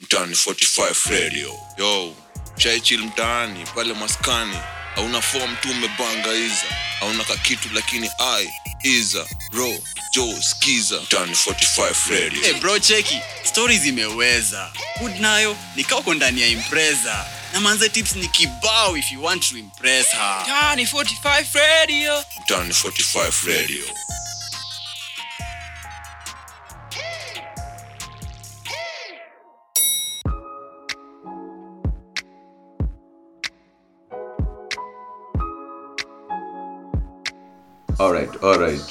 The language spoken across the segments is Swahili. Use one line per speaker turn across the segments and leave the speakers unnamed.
mtaani 45 radio yo shaichil mtaani pale maskani hauna fom tu umebanga iza hauna kakitu lakini ai iza ro jo skiza mtaani 45 radio
hey bro cheki stori zimeweza hood nayo nikako ndani ya impreza na manze tips ni kibao if you want to impress her
Tani 45 Ah, Radio.
mtaani 45 radio
alright alright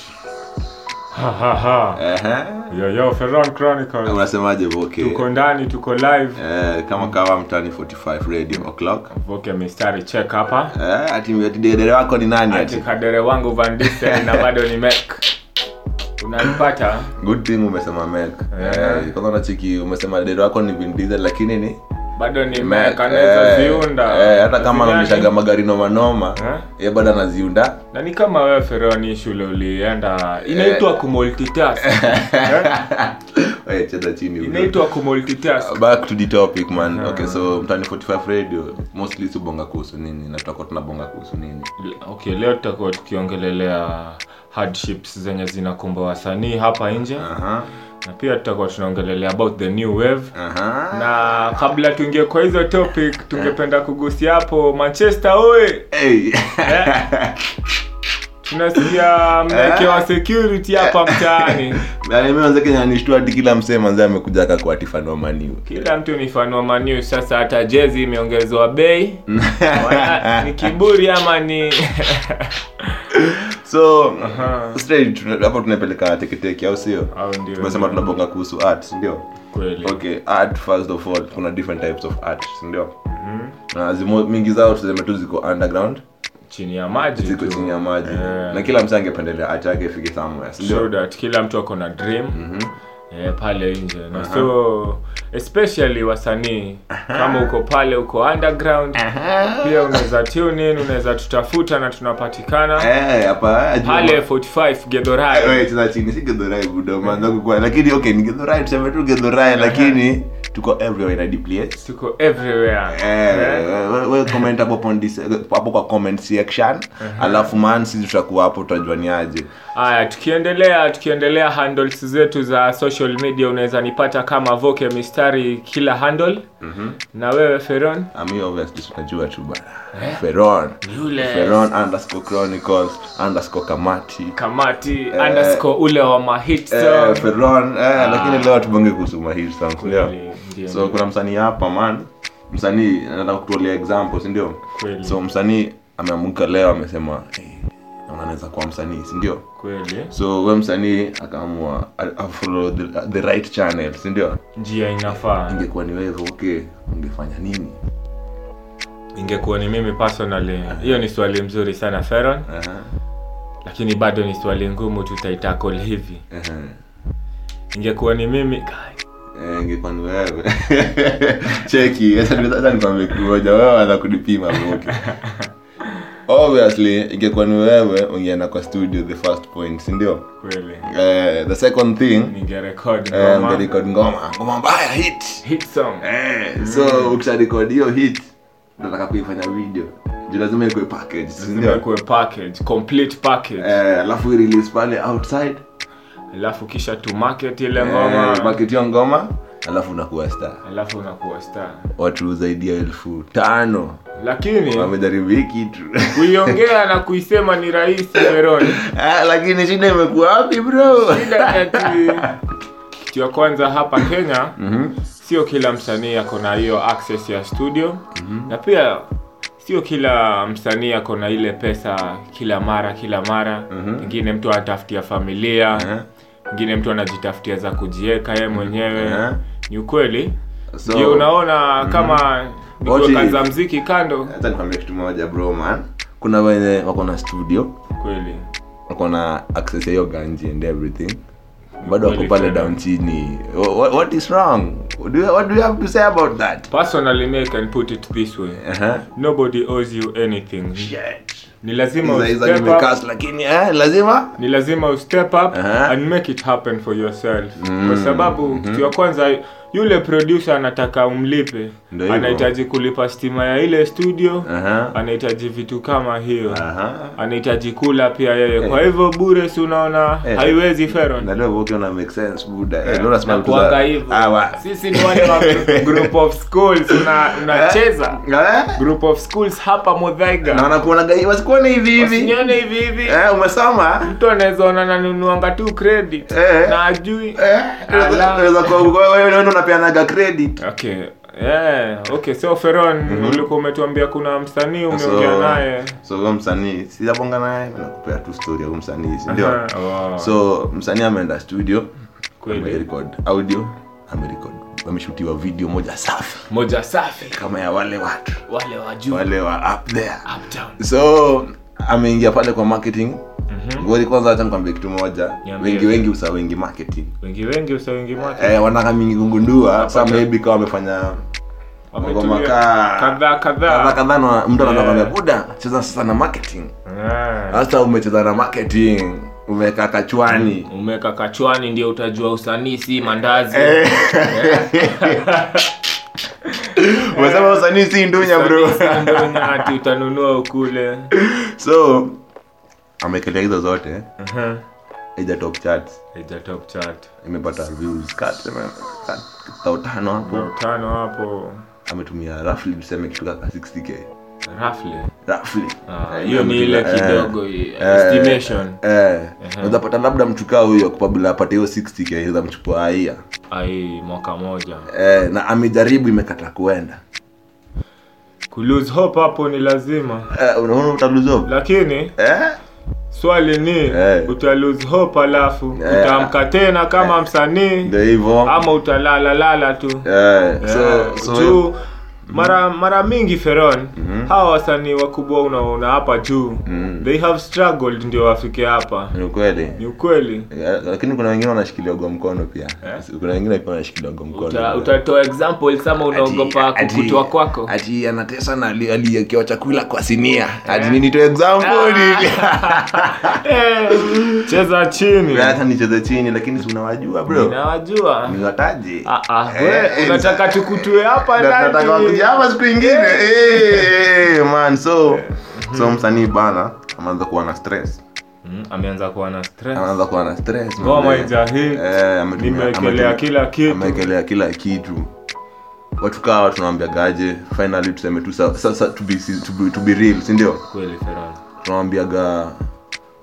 Hahaha.
Ehe.
Yo, yo, Ferran Chronicles.
unasemaje voke
Tuko ndani, tuko live.
eh, kama kawa mtani 45 radio o'clock
Voke mistari check hapa.
eh, ati ati dere wako ni nani
Ati
ati
kadere wangu Van Disten na bado ni Mac. Unanipata?
good thing umesema mek
Eh.
eh, kwanza unachiki umesema dere wako ni Vin Diesel lakini ni
Bado ni
Mac,
Mac, anaweza
eh,
ziunda.
eh, hata kama
Zidani.
anaonyeshaga magari nomanoma
Eh?
ye bado anaziunda
Na ni kama wewe Ferran hii shule ulienda.
Eh.
Inaitwa kumultitask. Eh?
Wewe Eh, cheza chini bro.
Inaitwa kumultitask.
back to the topic man okay so mtani 45 radio mostly subonga kuhusu nini na tutakuwa tunabonga kuhusu nini
Okay, leo tutakuwa tukiongelelea hardships zenye zinakumba wasanii hapa nje
aha
na pia tutakuwa tunaongelelea about the new wave
aha
na kabla tuingie kwa hizo topic tungependa kugusia hapo manchester oye
hey.
Eh. tunasikia mnaekewa security hapa mtaani
Yaani mzeknanishtu hadi kila msee manze amekuja akakuatifanoa maniwe
kila mtu ni fan wa Man U, sasa hata jezi imeongezewa bei Wana- ni kiburi ama ni
so straight tuna- hapo tunaipeleka teketeke au sio
Au ndio.
tumesema tunabonga kuhusu art si ndio
kweli
okay art first of all kuna different types of art si ndio na zimo mingi zao tuseme tu ziko underground
chini ya maji
ziko
tu.
chini ya maji
Eh.
na kila msee angependelea art yake ifike somewhere si
Sure
ndio
that kila mtu ako na dream
Mhm.
eh, pale nje na so especially wasanii kama uko pale uko underground pia unaweza tune in unaweza tutafuta na tunapatikana
Eh, hapa ajua-
pale 45
Eh,
gedhorai
wewe cheza chini si gedhorai budomanza kukua lakini okay ni gedhorai tuseme tu gedhorai lakini tuko everywhere ina DPS.
tuko everywhere
Eh, we- we comment hapo pon dis- hapo kwa eh, comment section alafu man sisi tutakuwa hapo tutajua ni aje
haya tukiendelea tukiendelea handles zetu za social media unaweza nipata kama voke mistari kila handle
Mhm.
na wewe feron
ami obviously tunajua tu bana
Eh?
feron
yule.
feron underscore chronicles underscore kamati
kamati underscore ule wa mahit
eh,
song
feron eh, lakini leo tubonge kuhusu mahiri songs ndio
Ah. Kweli, ndio,
so
ndio.
kuna msanii hapa man msanii nataka kutolea example si ndio
Kweli.
so msanii ameamuka leo amesema hey, anaweza kuwa msanii si ndio
kweli
so we msanii akaamua a- a- follow the, the right channel si ndio
njia inafaa
ingekuwa ni wewe okay ungefanya nini
ingekuwa ni mimi personally hiyo ni swali mzuri sana feron
Aha,
lakini bado ni swali ngumu tutaitakol hivi
aha.
ingekuwa ni mimi Kai,
Eh, ingekuwa ni wewe cheki sasa ni- sasa nikwambie kitu moja wewe waza kunipima okay obviously ingekuwa ni wewe ungeenda kwa studio the first point si ndio
kweli
eh, the second thing
ningerekod
eh,
ngoma,
ungerecord ngoma ngoma mbaya hit
hit song
Eh, so ukisharekodi hiyo hit nataka kuifanya video juu lazima ikuwe package si ndio
Ikuwe package complete package
Eh, alafu irelease pale outside
alafu kisha to market ile ngoma
eh, market hiyo ngoma alafu unakuwa star
alafu unakuwa star
watu zaidi ya elfu tano
lakini
wamejaribu hii kitu
kuiongea na kuisema ni rahisi feroni
Ah, lakini shida imekuwa wapi bro
shida ni ati kitu ya kwanza hapa kenya
Mhm.
sio kila msanii ako na hiyo access ya studio
Mhm.
na pia sio kila msanii ako na ile pesa kila mara kila mara
Mhm.
pengine mtu anatafutia familia
Eh,
pengine mtu anajitafutia za kujieka ye mwenyewe
Mhm.
ni ukweli
So, mhm.
ndio unaona kama
What
nikiweka
if-
za mziki kando
hata nikwambia kitu moja bro man kuna wenye wako na studio
kweli
wako na access ya hiyo ganji and everything bado wako
Kweli
pale
tena.
down chini what, what is wrong what do, you, what do you have to say about that
personally me I can put it this way
Aha.
nobody owes you anything ni lazima
Iza- iza
ustep up.
nimecast, lakini eh, lazima
ni lazima ustep up
Aha. Mm-hmm.
and make it happen for yourself kwa sababu kitu ya kwanza yule producer anataka umlipe
Ndio hivyo. Ah.
anahitaji kulipa stima ya ile studio Uh-huh.
Aha.
anahitaji vitu kama hiyo
Aha.
anahitaji kula pia yeye kwa hivyo bure si unaona
Eh.
haiwezi feron
Na leo wote wana make sense buda. Eh, leo
Na
nasema vitu za-
kuanga hivyo.
Ah, wa-
sisi ni wale wa group of schools una- unacheza
Eh?
group of schools hapa
Na
modhaiga
wanakuonaga hivi, wasikuone hivi hivi.
sinyone hivi hivi
Eh, umesoma?
mtu anaweza ona nanunuanga tu credit
Eh.
na ajui
Eh,
Ala.
unaweza kuwa- wewe- wewe ndio unapeanaga credit.
okay Yeah, okay so feron ulikuwa umetuambia kuna msanii umeongea
Mhm. So-
naye
so huyo msanii sijabonga naye nakupea tu story ya huyo msanii si ndio
Aha, Ah, wow.
so msanii ameenda studio
Kweli.
amerecord audio amerecord wameshutiwa video moja safi
moja safi
kama ya wale watu
wale wa juu
wale wa up there
uptown
so ameingia pale kwa marketing Ngori kwanza hata nikwambie kitu moja
Mhm. Niambie.
wengi wengi usa wengi marketing
wengi wengi usa wengi mwake
eh, wanaka mingi kugundua sa maybe kawa wamefanya
wametulia
kaa-
kadhaa
kadha
kadhaa
kadha na mtu
Yeah.
anakwambia buda cheza sasa na marketing
Ah.
hasa umecheza na marketing umeweka kachwani
umeweka kachwani ndio utajua usanii si mandazi
Eh, umesema usanii si ndunya bro
Usanii si ndunya, ati utanunua ukule
so amekelea hizo zote
Uh-huh.
ija top charts
Ija top chart
imepata views kat- kat- tao tano hapo
tano hapo
ametumia roughly tuseme kitu kaka 60k
roughly
roughly
Ah,
Eh,
hiyo ni ile
ametumia-
kidogo i-
eh,
estimation
eh unazapata labda mchukaa huyo kupabila apate hiyo 60k za mchukua aia
ai mwaka moja
eh, na amejaribu imekata kuenda
ku lose hope hapo ni lazima
eh, unaona utaluzo
lakini
eh?
swali ni
Eh.
uta lose hope alafu
Eh.
utaamka tena kama msanii
ndio hivyo
ama utalalalala tu
eh,
Yeah,
so, so, Mm-hmm.
juu mara mara mingi feron hawa wasanii wakubwa unaona hapa juu
Mm-hmm.
they have struggled ndio wafike hapa
ni ukweli
ni ukweli
Eh, lakini kuna wengine wanashikilia ugo mkono pia
Eh?
kuna wengine pia wanashikilia ugo mkono
Uta- utatoa example kama unaogopa
Ati-
kukutwa kwako
ati anatesa na ali- aliyekewa chakula kwa sinia ati nini to example
Ah. Eh, cheza chini
hata nicheze chini lakini si unawajua bro
nawajua
niwataje
Ah, ah,
Eh,
we,
eh,
unataka tukutue hapa
Na-
ndani.
nataka wakuja hapa siku ingine Eh, eh, man so so msanii bana ameanza kuwa na stress
Mm, ameanza kuwa na stress
anaanza kuwa na stress
ngoma
manze.
ijahii
Eh, ametumia-
nimewekelea
ametumia-
kila kitu
amewekelea kila kitu watu kawa tunawambiagaje finally tuseme tu sa- sasa to be, to be, to be real sindio
kweli Ferrari.
tunawambiaga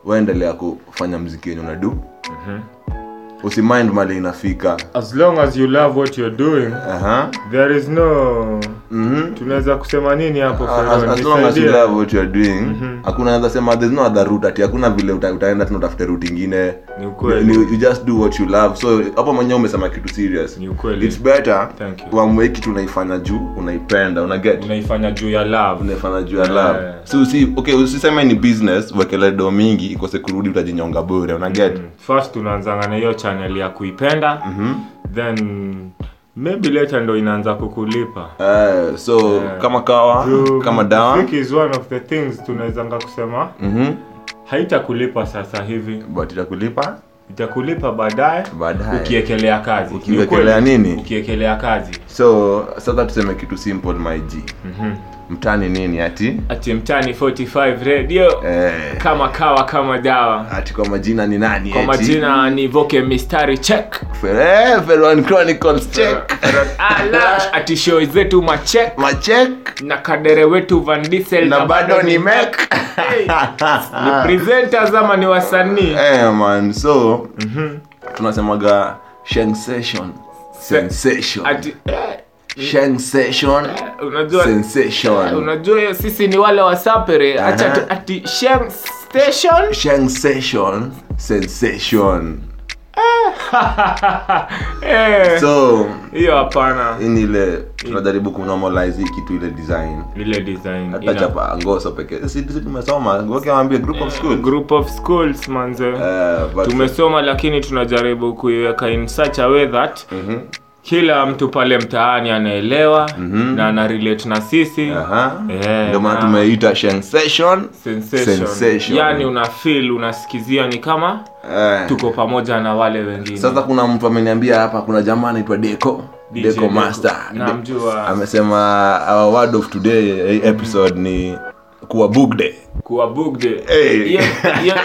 waendelea kufanya mziki wenye unadu
Mhm.
usimind mali inafika
as long as you love what you're doing
Aha.
there is no
Mhm.
tunaweza kusema nini hapo
Ah, As-
Ferrari?
as long as you
Nisaidie.
love what you are doing,
Mhm.
hakuna naweza sema there's no other route ati hakuna vile uta, utaenda tena utafute route ingine
ni
Ni-
ukweli
you just do what you love so hapo mwenyewe umesema kitu serious
ni ukweli
it's better
Thank you.
uamue kitu unaifanya juu unaipenda una get
unaifanya juu ya love
unaifanya juu ya love
Yeah.
so usi okay usiseme ni business wekele do mingi ikose kurudi utajinyonga bure una get
Mm. first unaanzanga na hiyo channel ya kuipenda
Mhm.
then maybe later ndo inaanza kukulipa
Eh, so kama kawa
Juu
kama dawa
muziki is one of the things tunawezanga kusema
Mhm.
haitakulipa sasa hivi
but itakulipa
itakulipa baadaye
baadaye
ukiekelea kazi Ni
Ukiwekelea
ukweli.
nini?
ukiekelea kazi
so sasa tuseme kitu simple my g
Mhm.
mtani nini ati
ati mtani 45 radio
eh,
kama kawa kama dawa
ati kwa majina ni nani
kwa
eti?
majina ni voke mistari check
Fer- eh, Ferwan Chronicles check
ala ati show zetu machek
machek
na kadere wetu van Diesel
na bado ni mek
Hey, ni presenters ama ni wasanii
eh, man so
Mhm.
tunasemaga sensation sensation
ati eh,
sensation
unajua
sensation
unajua sisi ni wale wasapere acha
Aha.
tu- ati Sheng station
sensation sensation
Eh,
so
hiyo hapana
ini Yaani ile tunajaribu kunormalize hii kitu ile design
ile design
hata
ina-
chapa ngoso pekee si si tumesoma ngoke waambie group of school
group of schools manze
Eh, but-
tumesoma lakini tunajaribu kuiweka in such a way that
Mhm.
kila mtu pale mtaani anaelewa na ana relate na sisi
Aha.
Eh,
Mhm. ndio maana
na-
tumeita sensation
Sensation.
Sensation.
yani una feel unasikizia ni kama
Eh,
tuko pamoja na wale wengine
sasa kuna mtu ameniambia hapa kuna jamaa anaitwa deko
DJ
Deco
Deco.
Master
Namjua.
amesema our word of today eh, episode ni kuwa bugde
kuwa bugde
Hey.
hiyo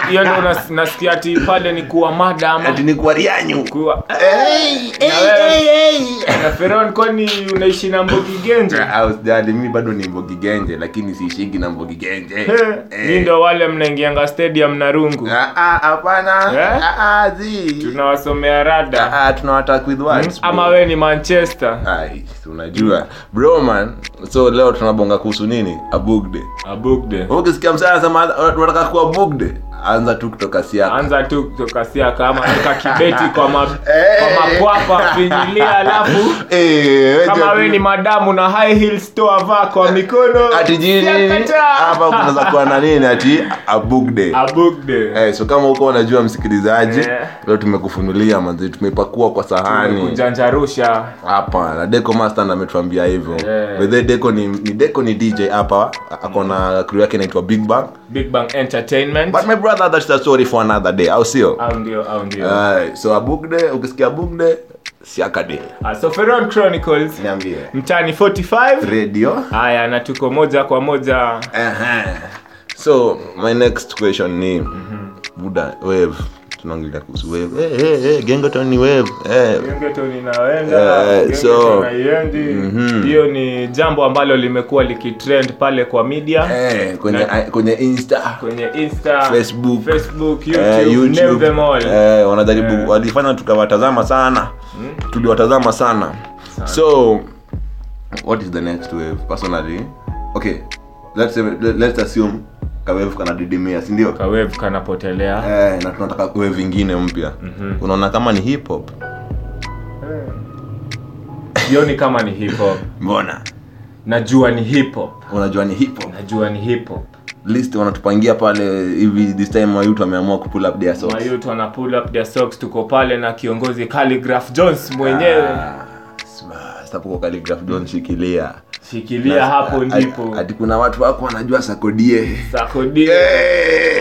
hiyo ndo nas- nasikia ati pale ni kuwa mada ama
ati ni kuwa rianyu
kuwa
Eh,
na wewe- na Feron, kwani unaishi na mbogi genje
au sijali mi bado ni mbogigenje lakini siishiki na mbogigenje Eh.
mi ndo wale mnaingianga stadium na rungu
Ah, ah, hapana
Eh?
Ah, ah, zi.
tunawasomea rada
Ah, ah, tunawatak with words, bro.
Hmm? ama we ni manchester
Ai, si unajua bro man so leo tunabonga kuhusu nini abugde
abugde
ukisikia msana sema unataka kuwa bugde anza tu kutoka siaka
anza tu kutoka siaka ama weka kibeti kwa, ma,
Eh.
kwa makwapa finyilia alafu kama we ni madamu na high heels toa vaa kwa mikono
ati jini
Siakataa.
hapa kunaweza kuwa na nini ati abugde
abugde
Eh, so kama huko unajua msikilizaji
Eh.
leo tumekufunulia manzi tumepakua kwa sahani
kujanjarusha
hapa na deco master ndo ametuambia hivyo
Yeah.
yeah. deco ni, ni deco ni dj hapa ako na crew yake inaitwa big bang
big bang entertainment
but my brother that's the story for another day au sio
au ndio au ndio
Aye, so abugde ukisikia abugde siakade
Ah, so Feron chronicles
niambie
mtani 45
radio
haya na tuko moja kwa moja
Aha. so my next question ni buda wave tunaongelea kuhusu wave hey, hey, hey, gengoton ni wave Eh. hey.
Gengetoni inaenda,
Eh,
Gengetoni
so-
haiendi.
Mhm.
hiyo ni jambo ambalo limekuwa likitrend pale kwa media
Hey, Eh, kwenye,
Na-
kwenye insta
kwenye insta
Facebook.
facebook
Eh,
youtube,
YouTube.
name them all
Eh, wanajaribu
Eh.
walifanya tukawatazama sana
Mm.
tuliwatazama sana so what is the next wave personally okay let's, let's assume kawave kanadidimia sindio
kawevu kanapotelea
Eh, na tunataka wave ingine mpya
Mhm.
unaona kama ni hip hop
sioni kama ni hip hop
mbona
najua ni hip hop
unajua ni hip hop
najua ni hip hop
list wanatupangia pale hivi this time mayutu ameamua kupull up their socks.
mayut wana pull up their socks tuko pale na kiongozi Khaligraph jones mwenyewe
Ah, sma- sapo kwa Khaligraph Jones shikilia
shikilia
Na-
hapo
a-
ndipo
a- ati kuna watu wako wanajua sakodie
sakodi
Eh.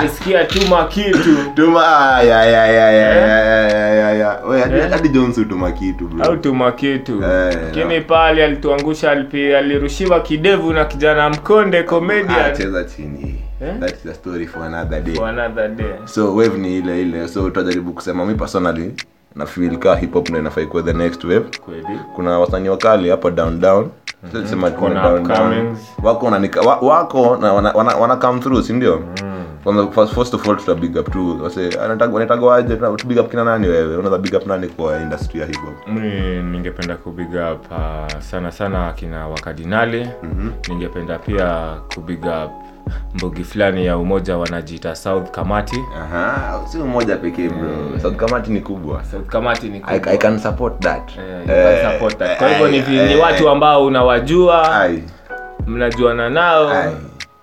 ulisikia tuma kitu Eh?
tumaayayayayayayayaya hadi jonsi utuma kitu bro.
au tuma kitu
Eh,
lakini pale alituangusha alipi- alirushiwa kidevu na kijana mkonde
Ah,
comedian
cheza chini
Eh?
That is a story for another day
for another day
so wave ni ile ile so tutajaribu kusema mi personally na feel ka hip hop ndo inafai kuwa the next wave
kweli
kuna wasanii wakali hapa down down Siwezi sema tuko
Mhm. Kuna
down down
upcomings.
wako wananika- wa- wako na wana, wana, wana come through si ndio
Mm.
kwanza first, first of all tuta big up tu wase anataka wanataka waje tuna- tu big up kina nani wewe unaweza big up nani kwa industry ya hip hop
mi ningependa kubiga up uh, sana sana akina wakadinali
Mhm.
mm-hmm. ningependa pia kubiga up mbogi fulani ya umoja wanajiita south kamati
aha si mmoja pekee bro South Eh. kamati ni kubwa
south kamati ni
I, I can support that
Eh, you can support that. kwa hivyo ni, vi- ni
eh,
watu ambao unawajua
ai
mnajuana
Ai.
nao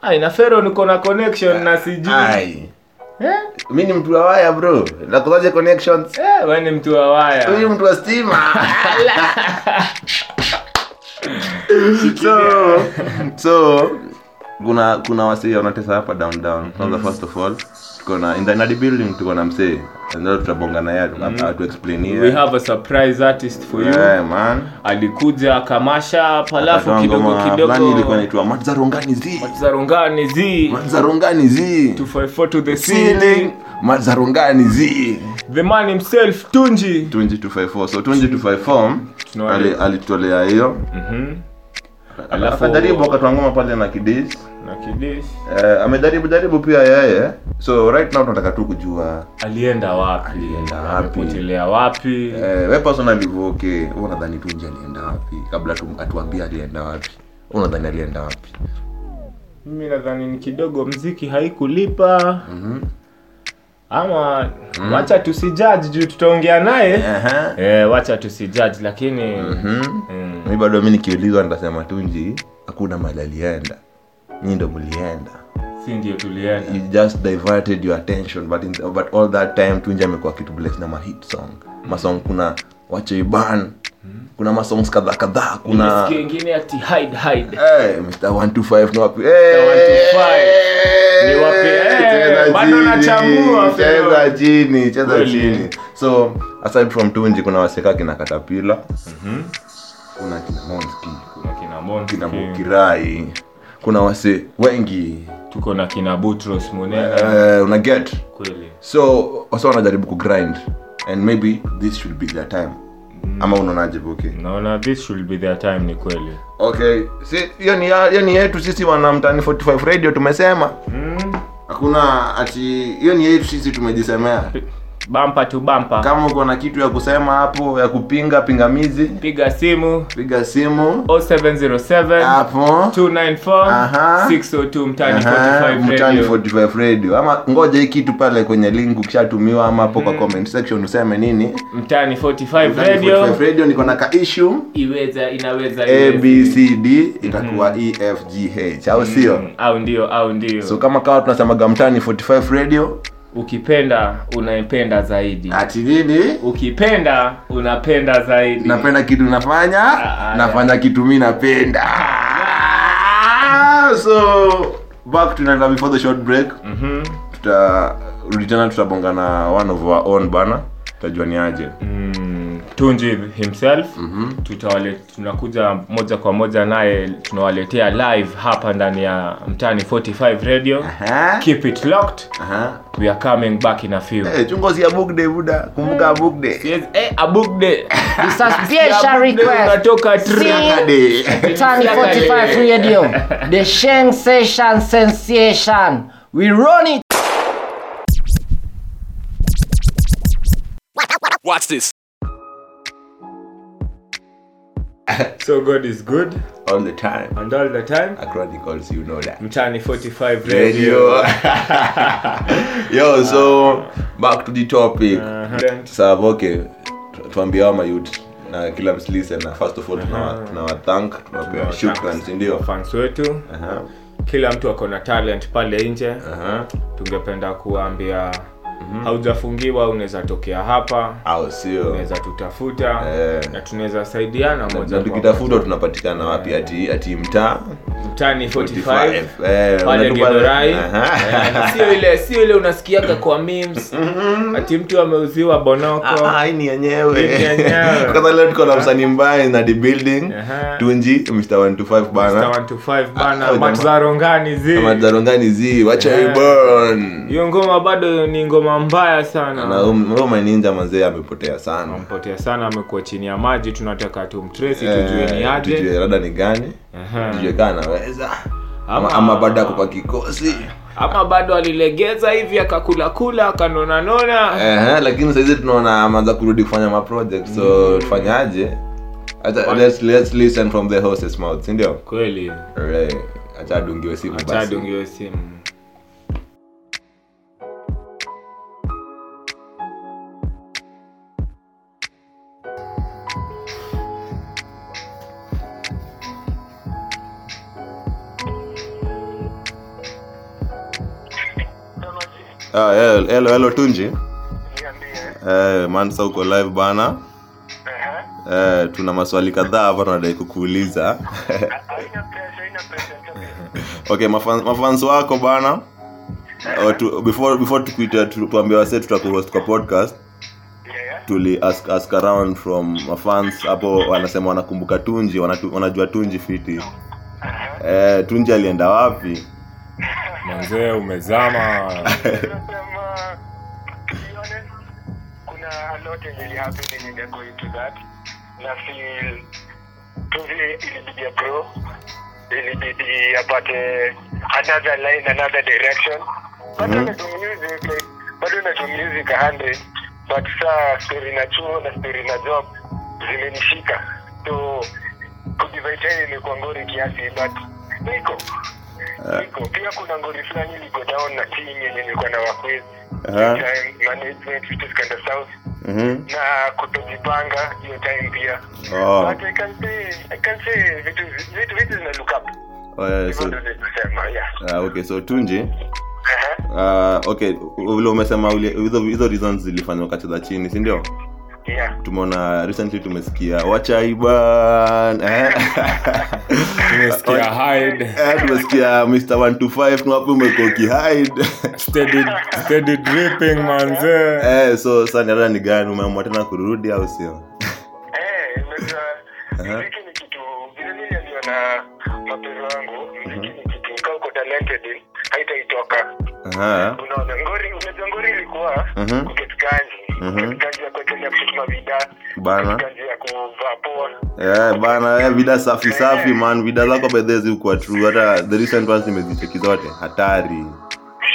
ai na fero niko na connection na sijui
ai
Eh?
mi ni mtu wa waya bro nakuzaje connections
Eh, we ni mtu wa waya
huyu mtu wa stima so so kuna kuna wasee wanatesa hapa down down kwanza first of all tuko na in the Nadi building tuko na msee ndio tutabonga na yeye tu explain
Mm-hmm. we have a surprise artist for you
man
alikuja kamasha
Akatoa
palafu kidogo
ngoma fulani ilikuwa
kidogo
inaitwa Mazarongani Z
zarongani zi
Mazarongani Z
254 to the ceiling
ceiling Mazarongani Z
the man himself tunji
2254 so 2254
Tunawaeleza.
ali- alitolea hiyo
Mhm. Alafu-
akajaribu akatoa ngoma pale na kidis
na kidish
Eh, amejaribu jaribu pia yeye so right now tunataka tu kujua
alienda wapi
Alienda wapi?
amepotelea wapi
eh, we personally okay wewe unadhani tunji alienda wapi kabla tu- atuambie alienda wapi Wewe unadhani alienda wapi
mimi nadhani ni kidogo mziki haikulipa
Mhm.
ama wacha tusijaji juu tutaongea naye
Aha.
eh, wacha tusijaji lakini
Mhm.
mm,
mi bado mi nikiulizwa nitasema tunji hakuna mali alienda nyi ndo mlienda
si ndio tulienda
you just diverted your attention but, in, but all that time tunji amekuwa kitu bless na mahit song masong kuna wacheiban kuna masongs kadhaa kadhaa kuna Eh,
Nimesikia ingine ati hide hide
Hey, Mr. 125 ni wapi?
Mr. 125. Ni wapi? Eh, Eh, bado nachambua
cheza
Fero.
chini cheza
Kweli.
chini so aside from tunji kuna waseka kina katapila
Mhm.
kuna kina monski
Kuna kina Monty
kina
King.
mukirai kuna wase wengi
tuko na kina Butros Munena
Eh, una get
kweli
so wase wanajaribu kugrind and maybe this should be their time ama unaonaje buki
naona this should be their time ni kweli
okay si hiyo ni ya- hiyo ni yetu sisi wanamtani 45 radio tumesema hakuna ati hiyo ni yetu sisi tumejisemea
bampa tu bampa
kama uko na kitu ya kusema hapo ya kupinga pingamizi
piga simu
piga simu
0707
hapo
294
Ah. Aha.
602 mtani
Aha,
45
Mtani
radio
45 radio ama ngoja hii kitu pale kwenye link ukishatumiwa ama hapo kwa comment section useme nini
mtani
Mtani
45 Mm. radio
45 radio niko na ka issue
iweza inaweza iwezi.
abcd itakuwa
Mm-hmm.
E, efgh au sio
Mm, au ndio au ndio
so kama kawa tunasemaga mtani 45 radio
ukipenda unaipenda zaidi
ati nini
ukipenda unapenda zaidi
napenda kitu nafanya
Ah,
nafanya kitu mi napenda Ah, so back tunaenda before the short break
Mhm.
tutarudi tena tutabonga na one of our own bana tutajua ni aje
Mm, tunji himself mm-hmm. tutawale, tunakuja moja kwa moja naye tunawaletea live hapa ndani ya mtani 45 radio
Aha,
keep it locked
aha.
we are coming back in a few
Eh, chungozi ya bugde buda kumbuka bugde
yes, eh, abugde
Special request.
unatoka tr-
See? Tani 45 Radio. The sensation sensation. We run it.
Watch this.
so god is good
all the time
and all the time
A chronicles you know that
mtani 45 radio Ah.
radio yo so back to the topic
Uh-huh.
sawa okay tu- tuambie hao mayut na kila msilise na first of all tunawa- tunawathank tunawapea shukran sindio
fans wetu
Aha,
kila mtu ako na talent pale nje
aha.
tungependa kuambia haujafungiwa unaweza tokea hapa
au sio
unaweza tutafuta
Eh.
na tunaweza saidiana moja
na
kwa
tukitafutwa tunapatikana wapi
Ah.
ati ati mtaa
moja. Mtani 45
Eh,
pale
unatupa-
Githurai.
Aha.
Eh, na sio ile sio ile unasikiaga kwa memes ati mtu ameuziwa bonoko
Ah, ah, hii ni yenyewe
Hii ni yenyewe.
Kwanza leo tuko na msanii mbaya na the building
Aha.
tunji mr 125 bana Ah,
125 bana
oh,
matzarongani zi
madharongani zi wacha
Yeah.
ibon
hiyo ngoma bado ni ngoma mbaya sana
maninja manzee amepotea sana
ampotea sana amekuwa chini ya maji tunataka tumtresi
Eh,
tujue ni aje
tujue rada ni gani
Aha.
tujue kaa anaweza ama,
Ama-
ama baada ya kwa kikosi
ama bado alilegeza hivi akakulakula akanonanona
Ehe, lakini sahizi tunaona ameanza kurudi kufanya maproject
Mm.
so tufanyaje Acha- let's, let's listen from the horse's mouth sindio
kweli
Alright. acha adungiwe simu basi
achadungiwe simu
Ah, hel- helo helo tunji Eh, mansa uko live bana Eh, tuna maswali kadhaa hapa tunadai kukuuliza okay mafan- mafans wako bana Oh, tu, before before tukuita tu- tuambie wase tutakuhost kwa podcast tuli ask, ask around from mafans hapo wanasema wanakumbuka tunji wanatu, wanajua tunji fiti eh, tunji alienda wapi
manzee umezama
Sema, to be honest, kuna a lot really happening in the going to that na feel tuvile ilibidi pro ilibidi apate another line another direction bado na do music like, bado na do music a hundred but saa story na chuo na story na job zimenishika so kudivaitani ilikuwa ngori kiasi but niko niko pia kuna ngori fulani iliko down na team yenye nilikuwa na wakwezi
Aha.
time management vitu zikaenda south
Mhm.
na kutojipanga hiyo time pia
Oh,
but I can say I can say vitu vitu vitu zina look up
eh,
hivyo
so,
ndio nilisema yeah
ah, okay so tunji
Aha.
Ah, okay vile umesema ule- hizo hizo reasons zilifanya ukacheza chini si ndio
yeah
tumeona recently tumesikia wachaiban eh?
Tumesikia hide,
Eh, tumesikia mr 125 tunawapi umekuwa ukihide
steady, steady dripping manze.
eh, so sasa niada ni gani umeamua tena kurudi au sio
Eh, unajua, mziki ni kitu vile mimi niliona mapenzi wangu
Mhm.
mziki ni kitu kama uko talented in, haitaitoka
Aha.
unaona ngori unajua ngori ilikuwa
Mhm.
kuketukanji kuketukanji ya kuwekelea kusukuma vida
Bana.
kuketukanji ya kuvaa poa
Eh, bana eh, vida safi safi man vida zako bedhezi ukuwa true hata the recent ones nimezicheki zote hatari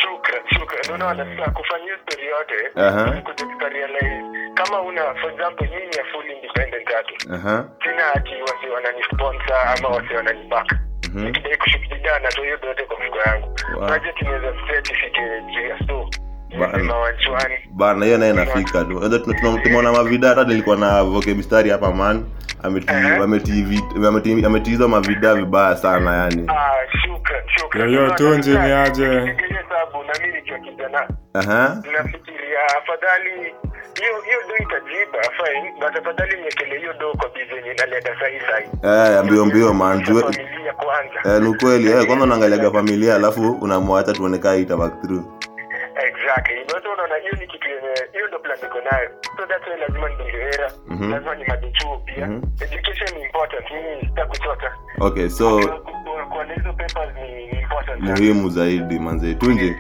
shukran shukran unaona sasa kufanya hiyo story yote
Aha.
kuketuka realize kama una for example mimi ni a full independent artist
Aha.
sina ati wasi wananisponsor ama wasi wananiback
Mhm.
nikidai kushughulikia natoa hiyo yote kwa mfuko yangu
Wow.
budget inaweza straight ifike juu ya so
Bana.
nimesema wanchwani
bana hiyo naye nafika tu Unajua tuna- tuna- tumeona mavida hata nilikuwa na voke mistari hapa man ameti-
Aha.
ameti- vi- ameti- ametiiza mavida vibaya sana yani
ah shukran shukran
Yoyo
Unaona,
tunji
sasa,
niaje.
nikifikiria sababu na mimi nikiwa kijana
Aha.
nafikiria afadhali hiyo hiyo do itajiba fine but afadhali niekele hiyo do kwa bizi yenye inaleta sahi sahi
Eh, mbio mbio man Jue-
familia kwanza
eh, ni ukweli eh, kwanza unaangaliaga familia alafu unamwacha tuonekaa ita back through
exactly but unaona hiyo ni kitu yenye hiyo ndo plan niko nayo so that's why lazima nibongehera
Mhm.
lazima ni majichuo pia education ni important mimi sitakuchoka
okay so
kuwa na hizo papers ni ni important sana.
muhimu zaidi manze tunje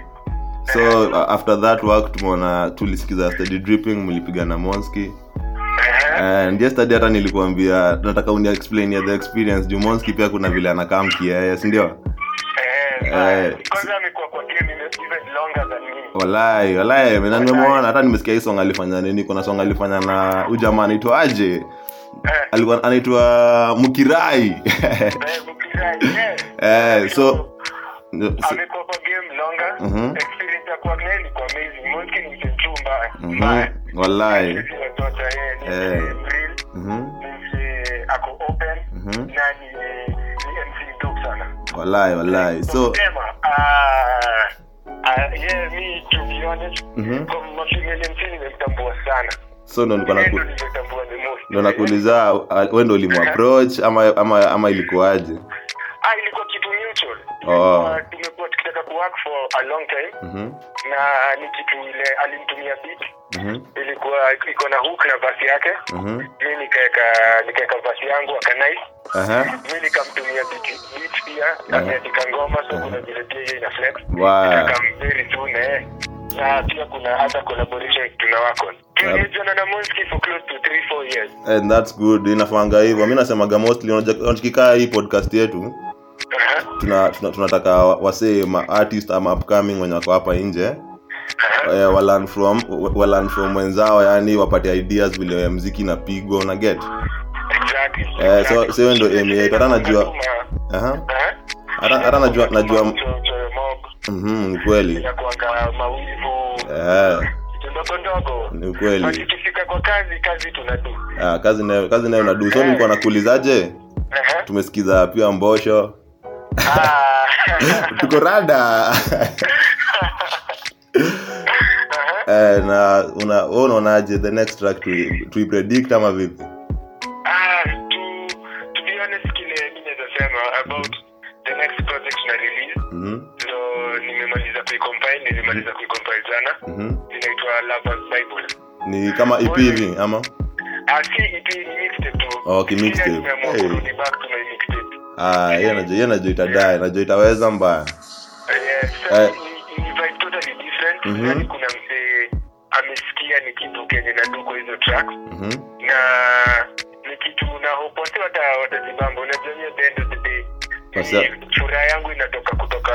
so uh, after that work tumeona tulisikiza study dripping mlipiga na monski
Eh,
and yesterday hata nilikuambia nataka uni explain ya the experience juu monski pia kuna vile anakaa mkiaye sindio
Eh,
Eh, Oh.
kwanza amekuwa kwa game ime- even longer than me
walai walai na nimemwona hata nimesikia hii song alifanya nini kuna song alifanya na ujamaa anaitwaje alikuwa anaitwa mkirai
Eh, Bukirai, eh.
eh, so ndio, so-
amekuwa kwa game longer
Mhm.
experience ya kuwa naye ilikuwa amazing Monski ni mchezo mbaya
mhm,
mbaya
walai
Sisi watoto yeye ni
Eh.
mreal,
mhm,
ni mse ako open
Mhm.
na ni ni MC dope sana
walai walai so
Sema, ah, ah, yeah, me to be honest,
Mhm.
kwa mafemale MC nimemtambua sana
so ndo nilikuwa
Yeye ndo
naku
nimemtambua the most.
ndo nakuuliza uh, we ndo ulimuapproach ama, ama, ama ilikuwaje
Ah, ilikuwa kitu mutual
Oh.
Ah, tumekuwa tukitaka kuwork for a long time
Mhm,
na ni kitu ile alinitumia beat
mhm,
ilikuwa iko na hook na vasi yake
mhm,
mi nikaweka nikaweka vasi yangu akanai
aha,
mi nikamtumia beat beat pia ameandika ngoma so kuna vile pia hiyo ina flex
Eh. Wow.
nikamveri tu na yeye na pia kuna other collaboration tuna wako tumejuana na Monski for close to 3 4 years
and that's good inafanga hivyo mi nasemaga mostly unajua- unajua tukikaa hii podcast yetu
Aha.
tuna, tuna, tunataka wa- wasee ma artist ama upcoming wenye wako hapa nje eh, wa learn from wa learn from wenzao yani wapate ideas vile mziki inapigwa una get
exactly
Eh, so- so hiyo ndo aim yetu. Hata najua-
Katuma,
Aha.
aha.
hata hata najua najua
Cho- cho- mob,
mhm, ni kweli
inakuanga mawivu
eh,
vitu ndogo ndogo
ni kweli
tukifika kwa kazi kazi tunadu
ah, kazi nayo kazi nayo nadu so nilikuwa nakuulizaje
Uh-huh.
tumesikiza pia mbosho
Ah.
tuko rada eh, na una wewe unaonaje the next track tu- tuipredict ama vipi
Ah, to to be honest kile mi naweza sema about the next project na release
Mhm,
ndo nimemaliza kuicompile nilimaliza kuicompile jana
mhm.
inaitwa lovers bible
ni kama ep hivi ama
Ah, si ep ni mixtape tu
Oh, ki
Pia
mixtape.
nimeamua
Hey.
kurudi back to my mixtape
Ah, hiyo najua hiyo najua itadae najua itaweza mbaya
Yes,
Eh.
ni- ni vibe totally different.
Mhm.
Yaani kuna msee amesikia ni kitu kenye nadu kwa hizo tracks
Mhm,
na ni kitu na hope watu wata watajibamba unajua hiyo the end of the day
Sasa-
Ni furaha yangu inatoka kutoka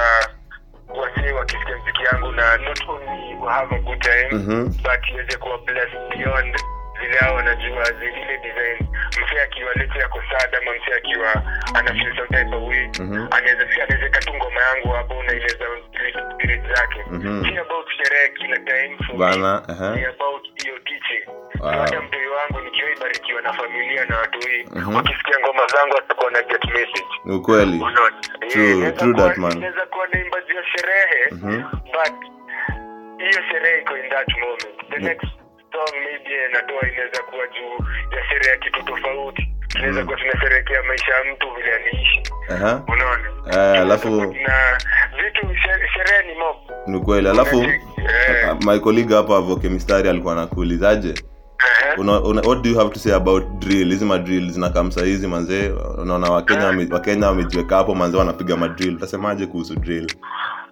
wasee wakisikia mziki yangu na not only we have a good time
Mhm.
but iweze kuwa blessed beyond vile hao wanajua zile design msee akiwa letu yako sad ama msee akiwa ana feel some type of way
Mhm.
anaweza anaweza katu ngoma yangu hapo unaeleza zile spirit zake
Mhm.
si about sherehe kila time for me.
Bana, aha.
Ni about hiyo teaching
Wow.
hata mtoi wangu nikiwa barikiwa na familia na watu hii
Mhm.
wakisikia ngoma zangu watakuwa na get message
ni ukweli
unaona
True,
Eh,
true
kuwa-
that, man.
inaweza kuwa naimba juu ya sherehe
Mhm.
but hiyo sherehe iko in that moment the next song maybe natoa inaweza kuwa juu ya sherehe ya kitu tofauti tunaweza
Mm.
kuwa tunasherehekea maisha ya mtu vile aliishi
Aha.
unaona
Eh, alafu
na vitu shere- sherehe ni mob
ni kweli alafu
Eh.
mycoliga hapa voke mistari alikuwa anakuulizaje una, una, what do you have to say about drill hizi madrill zinakam sahizi manzee unaona wakenya wame- wakenya wamejiweka hapo manzee wanapiga madrill utasemaje kuhusu drill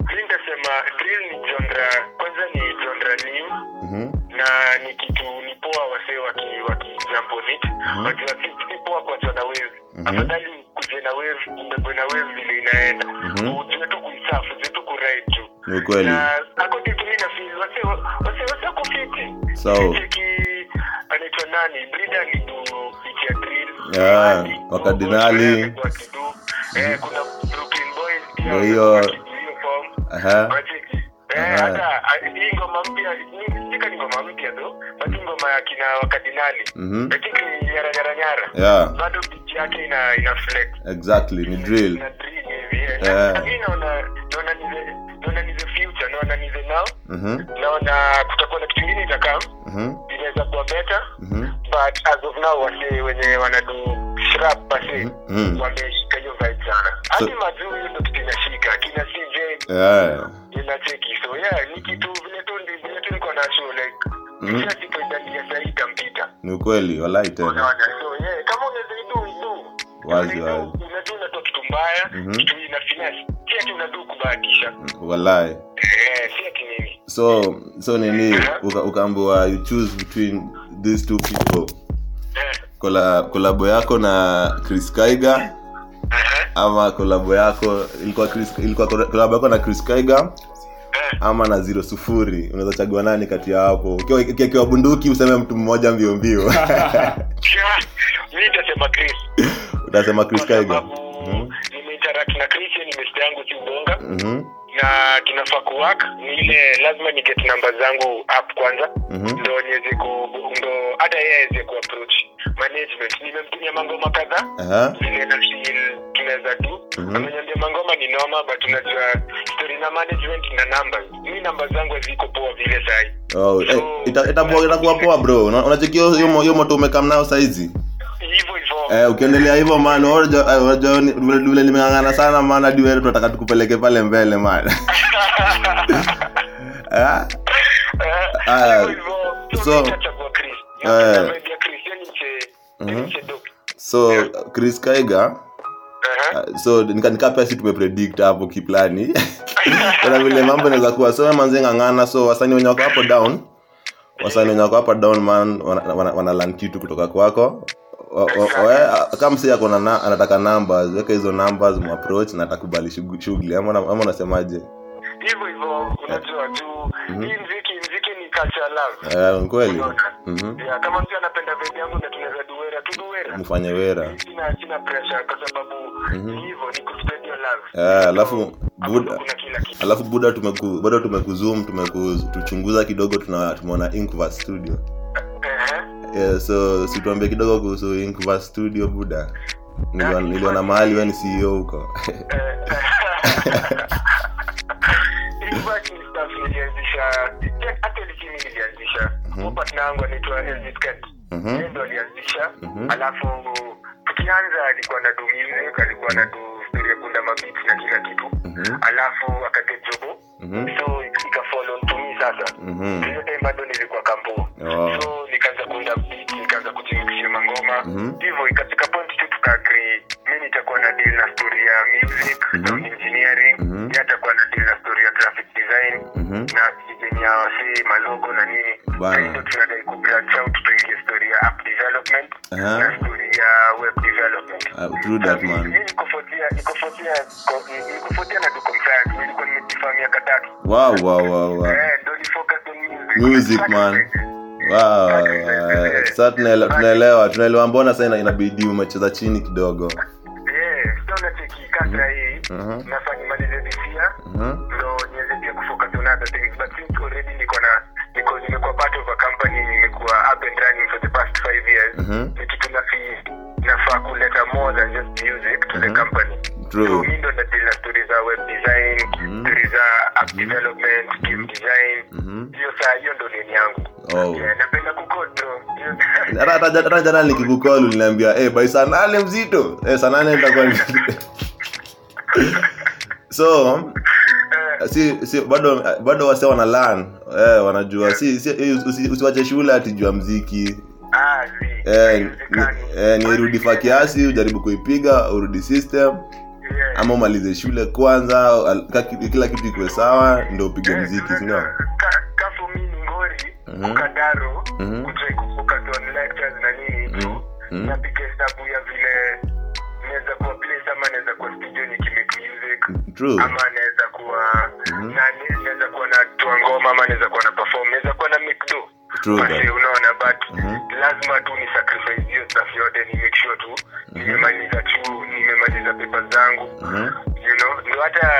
mi nitasema drill ni jondra kwanza ni jondra new
Mhm.
na ni kitu ni poa wasee waki wakijambo nit
Mhm.
wakiwa kitu ni poa kuachwa na wave afadhali kuje na wave umbebwe na wave vile inaenda ujue tu kuisafu ujue tu kurai juu
ni Mhm. kweli
na according to me na feel wasee wasee wasee wako fiti
Sawa.
cheki anaitwa nani brida alidu itia drill
Yeah,
Adi,
wakadinali.
Ogoja alikuwa akidu. eh kuna Brooklyn Boys pia
Ndio hiyo.
alikuwa akidu form
Aha. Aha.
Eh, ah, hii ngoma mpya ni- sika ni ngoma mpya tu basi ngoma ya kina wakadinali
Mhm.
lakini ni nyaranyaranyara
yeah
bado bit yake ina ina flex
exactly ni drill
ina drill hivi eh.
Yeah.
Mimi naona naona ni the naona ni the future naona ni the now
Mhm.
naona kutakuwa na kitu kingine itakaa
Mhm.
inaweza kuwa better
Mhm.
but as of now wase wenye wanadu shrap basi
Mhm.
wameshika hiyo vibe sana
So-
hadi majuu hiyo ndo kitu inashika kina CJ
yeah
inacheki so yeah ni kitu vile tu ndi- vile tu niko nacho like
Mhm.
kila siku italia sahii itampita
ni kweli walai tena
unaona so yeah kama unazaidu uidu
Wazi, wazi.
unadu unatoa kitu mbaya
Mhm.
kitu ina finasi si ati unadu kubahatisha
walai
Eh, si ati nini
so so nini uka- ukaambiwa you choose between these two people
Eh,
kola kolabo yako na chris kaiga
eh,
ama kolabo yako ilikuwa Chris, ilikuwa kola- kolabo yako na chris kaiga
eh.
ama na ziro sufuri unaweza chagua nani kati ya hapo Ukiwa- ukiwa ukiwa bunduki useme mtu mmoja mbio mbio
yeah, mi nitasema Chris
utasema chris
kwa
kaiga Mm-hmm.
sababu nimeinteract na Chris yeye ni best yangu si ubonga
Mhm,
na tunafaa kuwork ni ile lazima niget namba zangu up kwanza
Mhm.
ndo niweze ku ndo hata yeye aweze kuapproach management nimemtumia mangoma kadhaa
aha,
vile na feel tunaweza tu
Mhm.
ameniambia mangoma ni noma but unajua story na management na numbers mi namba zangu haziko poa vile sahi
oh, eh, ita- itakuwa- itakuwa poa bro Una- unachekia hiyo mo- hiyo moto umekam nayo saizi
hivyo hivyo
eh, ukiendelea hivyo man unajua- eh, unajua ni- vile vile nimeng'ang'ana sana man hadi wewe tunataka tukupeleke pale mbele man Eh? ah,
Eh, hivyo hivyo
so-
so mi nitachagua Chris
eh. Mhm.
na vibe ya Chris yaani yeye ni mche yeye ni mche dope
so chris kaiga
Aha.
Uh, so nika- nikaa pia si tumepredict hapo kiplani kuna vile mambo inaweza kuwa so manzi ng'ang'ana so wasani wenye wako hapo down wasani wenye wako hapo down man wana- wana- wanalan kitu kutoka kwako O- o- we, a- kama msi ako na na- anataka numbers weka hizo numbers muapproach na atakubali shugu- shughuli ama ama unasemaje
hivyo hivyo unajua juu
Mhm.
hii mziki mziki ni culture love
Eh, ni kweli
Unaona?
Mhm.
Yeah, kama mtu anapenda vibe yangu na tunaweza duera tuduera
mfanye wera
sina sina pressure kwa sababu ni hivyo ni kuspread your love
Mhm. Eh, alafu buda
kuna kila kitu
alafu buda tumeku bado tumekuzoom tumekutuchunguza kidogo tuna- tumeona Inkverse studio
ehe
Yeah, so situambie kidogo kuhusu Incuba studio buda Nilio- niliona mahali we ni ceo huko
Eh, Impact ni stuff nilianzisha yeah, actually si mimi nilianzisha partner yangu anaitwa Elvis Cat yeye ndo alianzisha alafu tukianza alikuwa na do music alikuwa na do story ya kunda mabiti na kila kitu alafu akate jobo so ikafollow to me sasa
Mhm.
hiyo time bado nilikuwa kampo
Oh.
so nikaanza kuunda beat nikaanza kujimixia mangoma
Mm-hmm.
hivyo ikafika point tu tukaagri mi nitakuwa na deal na story ya music
Mm-hmm.
sound engineering yeye atakuwa na deal na story ya graphic design
Mhm. Mm-hmm.
na kijeni ya wasee malogo na nini
Bana.
Sasa ndio tunadai kubranch out tuingie story ya app development
Aha.
na story ya web development
Ah, true Uh-huh. that, man.
Mimi niko 40 niko 40 ko- niko 40 na duko msaya nilikuwa nimejifaa miaka tatu
wow, wow, wow, wow.
Eh, ndio ni focus on music.
music man wow. eh, sa tunaele- tunaelewa tunaelewa mbona saa ina- inabidi umecheza chini kidogo
Eh, sasa unacheki kata hii
Mhm.
nafaa nimalize bisia
Mhm.
ndo niweze pia kufocus on other things but since already niko na niko nimekuwa part of a company nimekuwa up and running for the past five years
Mhm.
ni kitu nafi nafaa kuleta more than just music to the company
Uh-huh. True. Uh-huh.
so mi ndo nadili na stori za web design stori za app development game design hiyo saa hiyo ndo nini yangu
Uh-huh. Oh.
Yeah, napenda ku
Hata- hata hata jana nikikukol uliniambia eh by saa nane mzito eh, saa nane nitakuwa ni- so si, si bado bado wase wana learn eh, wanajua si, si eh, usi, usiwache shule atijua mziki
Ah, zi.
eh, ni,
Haiwezekani.
eh, ni rudi fa kiasi ujaribu kuipiga urudi system
Yeah.
ama umalize shule kwanza al- ka- kila kitu ikuwe sawa ndo upige mziki sindio
Ka- kafumini ngori
Mhm.
ukadaro
Mhm.
kutrai kufocus on lectures na nini tu
Mhm.
napiga hesabu ya vile naweza kuwa place ama naweza kuwa studio nikimake music
true
ama naweza kuwa
Mhm.
nani naweza kuwa na toa ngoma ama naweza kuwa na perform naweza kuwa na make do
True
Basi,
that.
unaona but
Mhm.
lazima tu ni sacrifice hiyo stuff yote ni make sure tu nimemaliza chuo nimemaliza paper zangu
Mhm.
you know ndio hata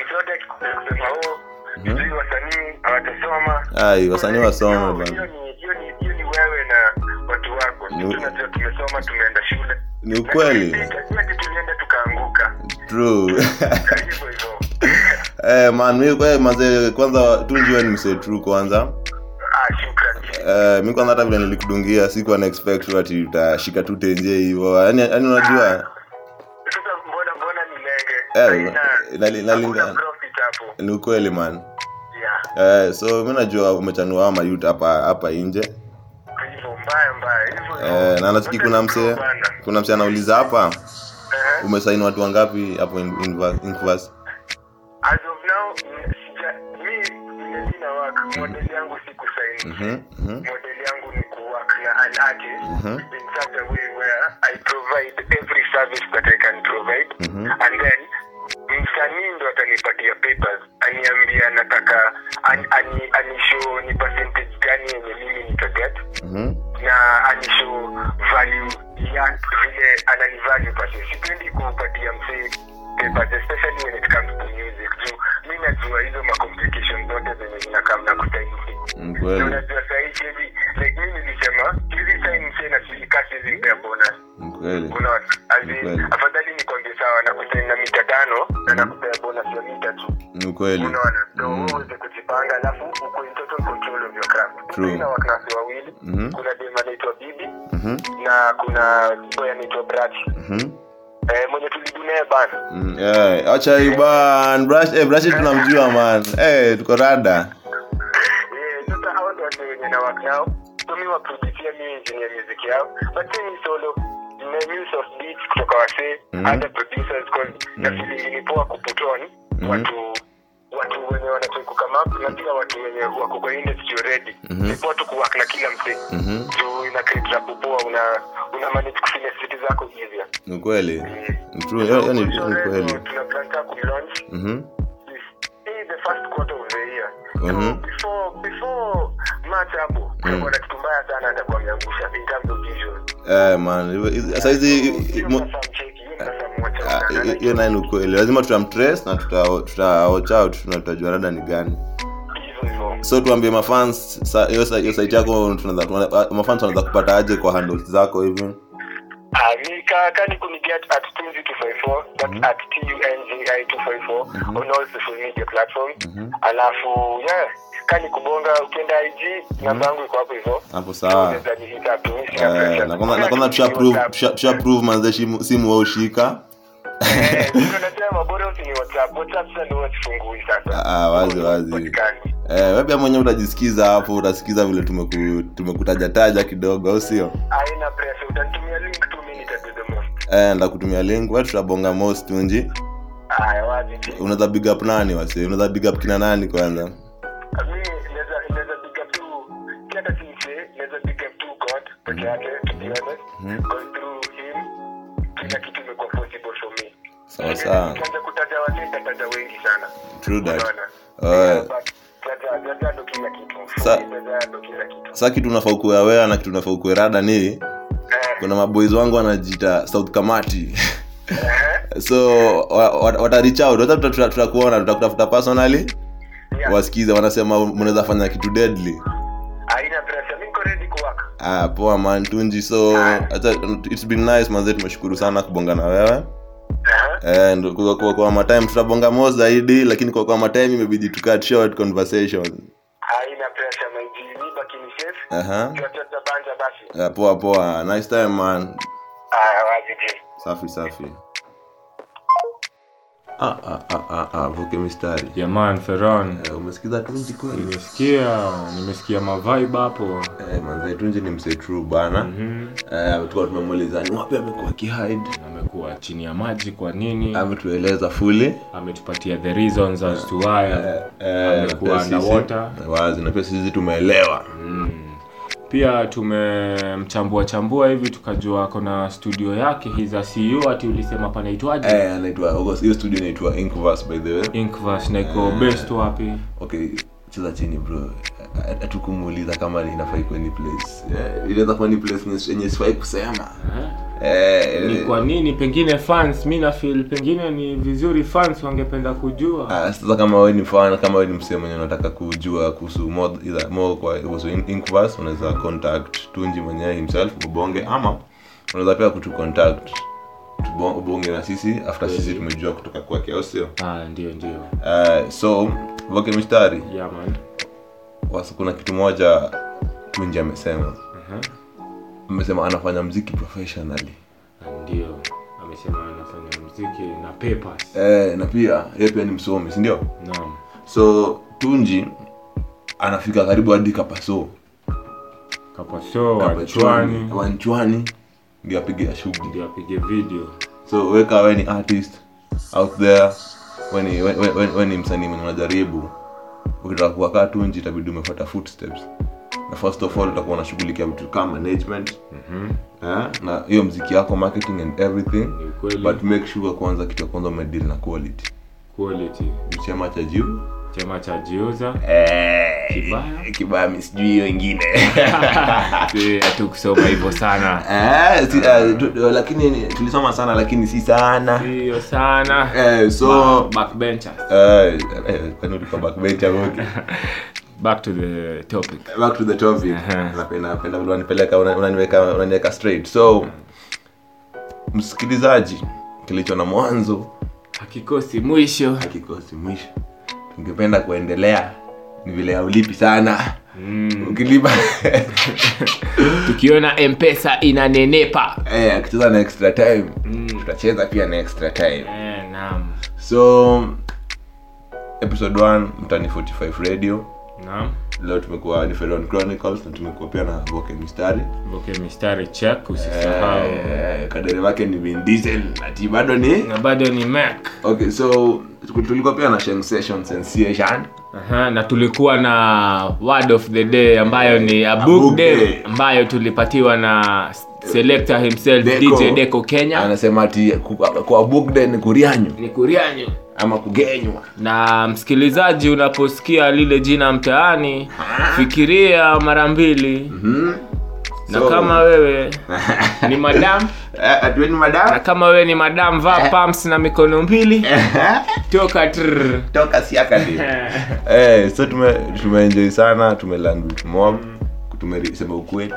mtu yote akikuja kusema oh sijui wasanii hawatasoma
Mhm. ai wasanii wasoma
No,
bana
hiyo ni- hiyo ni- hiyo ni wewe na watu wako
Ni-
sisi tunajua tumesoma tumeenda shule
Ni ukweli.
lakini tulienda tukaanguka
true
hivyo hivyo
eh, man mi eh, mazee kwanza tu njue ni msee true kwanza
ah shukrani
eh, mi kwanza hata vile nilikudungia sikuwa na expect tu ati utashika tu tenje hivyo yani yani unajua
sasa mbona mbona ni lenge
eh,
Haina-
nali-
hakuna
nalingana
profit hapo
ni ukweli man
yeah
eh, so mi najua umechanua ama yut hapa hapa nje
hivyo mbaya mbaya hivyo
eh, na nasikii kuna msee kuna msee anauliza hapa
Eh,
umesaini watu wangapi hapo in- inva- Inkverse?
as of now mm, sija mi mimi na work model yangu si kusaini
Mhm, mhm,
model yangu ni kuwork na an artist in such a way where I provide every service that I can provide
Mhm.
and then msanii ndo atanipatia papers aniambia nataka an, ani, anishow ni percentage gani yenye mimi nitaget
mhm.
na anishow value ya vile ananivalue pasi sipendi kupatia msee papers especially when it comes to music juu mi najua hizo macomplication zote zenye zinakam na kusainisi
Ni kweli,
unajua sahii siezi like mi nilisema hizi sai msee na silika siezi mpea bonus
ni kweli.
unaona Azi,
Kweli.
afadhali nikwambie sawa na kusaini na mita tano na nakupea bonus ya mita tu
Ni kweli.
unaona so wewe
Mm-hmm.
uweze kujipanga alafu uko in total control of your craft
True.
Mimi na waknasi wawili
Mhm.
kuna dem anaitwa bibi
Mhm,
na kuna boy anaitwa brachi
mhm.
eh, mwenye tulidu naye bana
Mm, eh, acha hii ban brush eh, brush tunamjua man eh, tuko rada
Eh, sasa hao ndo watu wenye na work nao so mi waproducia mi engineer music yao but si mi solo na use of beats kutoka wasee
Mhm.
other producers cause
Mm-hmm.
na feeling ni poa kuputoni watu watu wenye wanataka kukama up na pia watu wenye wako kwa industry already
Mm-hmm.
ni poa tu kuwork na kila msee
Mhm.
juu ina create rap poa una una manage kufanya street zako easier
ni kweli Ni true, hiyo hiyo ni hiyo ni kweli
tunapanga ku launch
Mhm,
in the first quarter of the year. So
Mhm.
before before March hapo
Mm.
tutakuwa na kitu mbaya sana atakuwa ameangusha in terms of visuals.
eh, man hivyo- hizi- sasa hizi
Hiyo
mo-
sasa mcheki, hiyo sasa mwacha
ah,
sana.
hiyo- hiyo naye ni ukweli lazima tutamtrace na tuta tuta watch out na tutajua rada ni gani
Hivyo hivyo.
so tuambie mafans sa- hiyo sa- hiyo site yako tunaweza- tunaweza- mafans wanaweza kupata aje kwa handles zako hivi
Ah, mi ka- ka ni kuniget at tunzi 254
Mm-hmm.
that's at tunzi 254 on all social media platforms
Mm-hmm.
alafu yeah kani kubonga ukienda ig namba yangu iko hapo hivyo
hapo Mm-hmm. sawa
Unaweza ni hit up, mi sina pressure.
Eh, na kwanza- na kwanza tusha prove- tusha- tusha prove manze shimu- simu waushika
Eh, ndio nasema bora usini WhatsApp. WhatsApp sasa ndio wasifungui sasa.
Ah, ah, wazi, wazi.
Hapatikani.
eh, we pia mwenyewe utajisikiza hapo utasikiza vile tumeku, tumekutajataja kidogo au sio
Haina pressure. Utanitumia link tu mimi nitadu the most.
eh, ndakutumia link we tutabonga most tunji
Haya wazi. Mimi
unaweza big up nani wasi unaweza big up kina nani kwanza
naweza naweza pick up tu si hata si msee, naweza pick up tu God peke yake to be
Mm-hmm.
honest. Because through him kila kitu imekuwa possible for me.
Sawa, Oh, sawa.
Nikianza kutaja wazee nitataja wengi sana.
True that.
Unaona?
Alright.
Yeah, but Jaja jaja ndo kila kitu.
Oh, Sa-
Jaja ndo kila kitu.
sa kitu unafaa ukuwe awea na kitu unafaa ukuwe rada ni
Eh,
kuna maboys wangu wanajiita south kamati
eh,
so watarichao tutakuona tutakutafuta personally
yeah.
wasikize wanasema mnaweza fanya kitu deadly
haina pressure mimi niko ready kuwaka
Ah, poa man tunji so hata it's been nice manze tumeshukuru sana kubonga na wewe and kwa, kwa, kwa matime tutabonga mo zaidi lakini kwa kwa matime imebidi tukat short conversation
haina pressure my G, mi baki ni safe
Aha.
tunatabanja basi Ah,
Yeah, poa poa. Nice time man.
aya wajiji
Safi safi. Ah ah ah ah ah, vuke mistari.
jaman feron
Eh, umesikiza Tunji kweli?
nimesikia nimesikia mavibe hapo
Eh, manze Tunji ni mse true bana.
Mhm.
Eh, tulikuwa tumemuuliza ni wapi amekuwa kihide.
amekuwa chini ya maji kwa nini
Ametueleza fully.
ametupatia the reasons as to why
Eh, na pia
amekuwa
sisi-
underwater
Wazi, na pia sisi tumeelewa.
Mm. pia tumemchambua chambua hivi tukajua kona studio yake hiza CEO E ati ulisema panaitwaje
Eh, anaitwa August. Hiyo studio inaitwa Incubus by the way.
Inkverse na iko best wapi
okay cheza chini bro Ha- hatukumuuliza kama inafaa ikuwe ni place Eh, inaweza kuwa ni place yenye- yenye sifai kusema Eh,
ni kwa nini pengine fans mi na feel pengine ni vizuri fans wangependa kujua
ah, sasa kama wewe ni fan kama wewe ni msee mwenye unataka kujua kuhusu more, either more kwa kuhusu in- Incubus unaweza contact Tunji mwenyewe himself Mbonge ama unaweza pia kutu contact Tubo- Ubonge na sisi after sisi tumejua kutoka kwake au sio?
ah, ndio ndio
Eh, so voke mstari
yeah, man.
Wasa- kuna kitu moja Tunji amesema amesema anafanya mziki professionally
ndio amesema anafanya mziki na papers
eh, na pia yeye pia ni msomi si ndio
naam
so tunji anafika karibu hadi kapaso
kapaso
Kapachwani,
wachwani
wanchwani ndio apige ya shughuli
ndio apige video
so weka we ni artist out there we ni, we, we, we, we ni msanii mwenye unajaribu ukitaka kuwa kaa tunji itabidi umefuata footsteps na first of all utakuwa unashughulikia vitu kama management eh, na hiyo mziki yako marketing and everything
Ni ukweli.
but make sure kwanza kitu ya kwanza umedeal na quality
quality
chama cha juu
chama cha jiuza Kibaya?
Eh, kibaya mi sijui hiyo ingine
hatukusoma hivyo sana
Eh, si- eh, tu- tu- lakini ni- tulisoma sana lakini si sana
hiyo sana
Eh, so
backbenchers
eh, eh, kwani ulikuwa backbencher wote?
back to the topic
back to the topic
Aha.
napenda napenda vile unanipeleka una- unaniweka unaniweka straight so msikilizaji kilicho na mwanzo
hakikosi mwisho
hakikosi mwisho tungependa kuendelea ni vile aulipi sana ukilipa
tukiona mpesa inanenepa
eh, akicheza na extra time tutacheza pia na extra time
Eh, naam
so episode 1 mtani 45 radio
naam
leo tumekuwa ni Felon chronicles na tumekuwa pia na voke mistari
voke mistari chek usisahau
eh, kadere wake ni Vin Diesel ati bado ni
na bado ni mac
okay so tulikuwa pia na sensation sensation
Aha, na tulikuwa na word of the day ambayo ni a book
book
day
day.
ambayo tulipatiwa na selector himself
Deco.
dj deco kenya
anasema ati ku- kwa book day ni kurianyu
ni kurianyu
ama kugenywa
na msikilizaji unaposikia lile jina mtaani fikiria mara mbili na
Mm-hmm. So-
kama wewe ni madam
Eh, atueni
na
madam
kama wewe ni madam
Eh.
vaa pumps na mikono mbili toka trrr.
toka siakadi eh, so tume tumeenjoy sana tumelearn vitu mob tumesema ukweli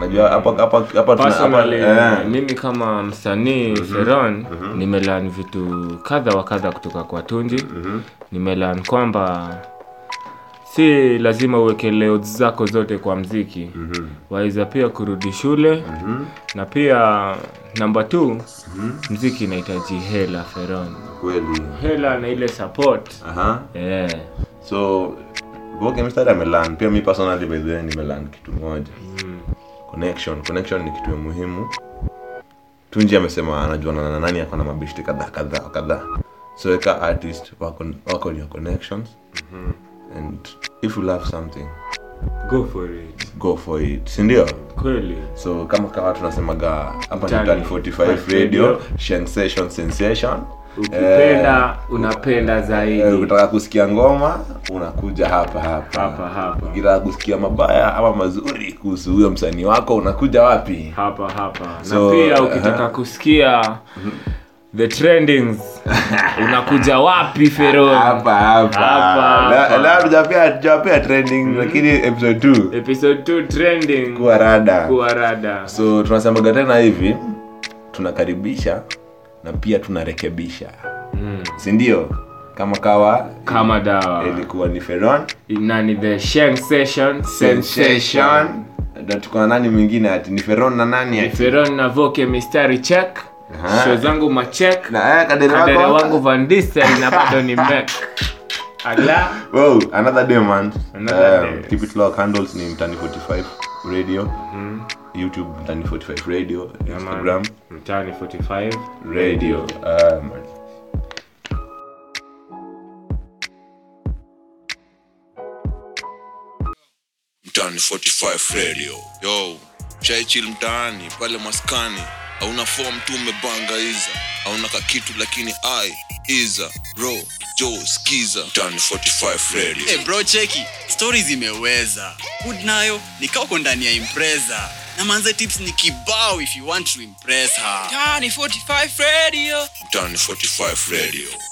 najua hapa hapa hapa tuna- hapa
Personally,
eh. Mhm.
mimi kama msanii feron nimelearn vitu kadha wa kadha kutoka kwa tunji
Mhm.
nimelearn kwamba si lazima uweke leods zako zote kwa mziki
Mhm.
waweza pia kurudi shule na pia namba t
Mhm.
mziki inahitaji hela feron
kweli
hela na ile support
aha
yeah.
so okay mstari amelan pia mi personally by the way nimelan kitu moja connection connection ni kitu ya muhimu tunji amesema anajuana na nani ako na mabishti kadhaa kadhaa kadhaa so weka artist wako wako on your connections Mm-hmm. and if you love something
go for it
go for it sindio
kweli
so kama kawa tunasemaga hapa ni
Mtaani.
Mtaani 45 radio sensation sensation
ukipenda unapenda zaidi
Eh, ukitaka kusikia ngoma unakuja hapa hapa
Hapa, hapa.
ukitaka kusikia mabaya ama mazuri kuhusu huyo msanii wako unakuja wapi
hapa hapa
So, uh-huh.
na pia ukitaka kusikia the trendings unakuja wapi feron
hapa
Hapa, Mm-hmm. hapa.
hapa leo tujapea tujapea trending lakini episode 2
episode 2 trending
kuwa rada
kuwa rada
so tunasemaga tena hivi tunakaribisha na pia
Mm.
tunarekebisha si sindio kama kawa
kama dawa
ilikuwa ni feron
nani the sheng session sensation
Na tuko na nani mwingine ati ni feron na nani ati
feron na voke mistari check
Aha.
sho zangu machek
Uh-huh. na eh, kadere wako
kadere wangu van Diesel na bado ni mek ala
Wow, another day man
Another
Um,
day.
keep it lock handles ni mtani 45 radio
Mm-hmm.
youtube mtani 45 radio instagram
mtani 45
radio um,
mtaani 45 radio yo shaichil mtaani pale maskani hauna fom tu umebanga iza hauna kakitu lakini i iza ro jo skiza mtaani 45 radio
hey bro cheki stori zimeweza good nayo nikawako ndani ya impreza na manze tips ni kibao if you want to impress her
Tiny 45 Ah, Radio.
mtaani 45 radio